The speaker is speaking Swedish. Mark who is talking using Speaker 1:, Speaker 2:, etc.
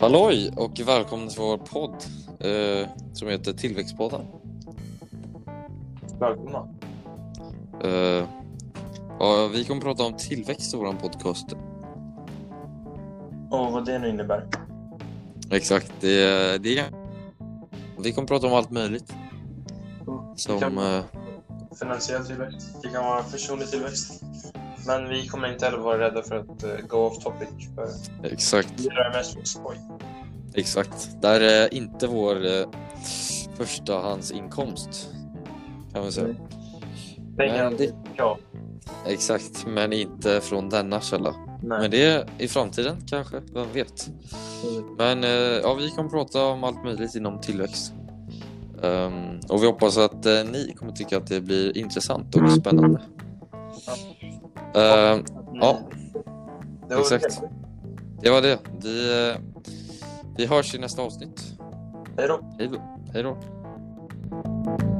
Speaker 1: Halloj och välkomna till vår podd eh, som heter Tillväxtpodden.
Speaker 2: Välkomna.
Speaker 1: Eh, ja, vi kommer prata om tillväxt i vår podcast.
Speaker 2: Och vad det nu innebär.
Speaker 1: Exakt, det, är- det är... Vi kommer prata om allt möjligt. Som, eh,
Speaker 2: Finansiell tillväxt. Det kan vara personlig tillväxt. Men vi kommer inte heller vara rädda för att eh, go off topic. För
Speaker 1: exakt,
Speaker 2: vi gör det mest för skoj.
Speaker 1: exakt. Det här är inte vår eh, förstahandsinkomst. Kan man säga.
Speaker 2: Pengar
Speaker 1: Men det-
Speaker 2: ja.
Speaker 1: Exakt, men inte från denna källa.
Speaker 2: Nej.
Speaker 1: Men det är i framtiden kanske, vem vet? Men eh, ja, vi kommer prata om allt möjligt inom tillväxt. Ehm, och vi hoppas att eh, ni kommer tycka att det blir intressant och spännande. Ehm, ja.
Speaker 2: Mm. Det var
Speaker 1: Exakt.
Speaker 2: det.
Speaker 1: det var det. Vi, eh, vi hörs i nästa avsnitt.
Speaker 2: Hej då.
Speaker 1: Hej då. Hej då.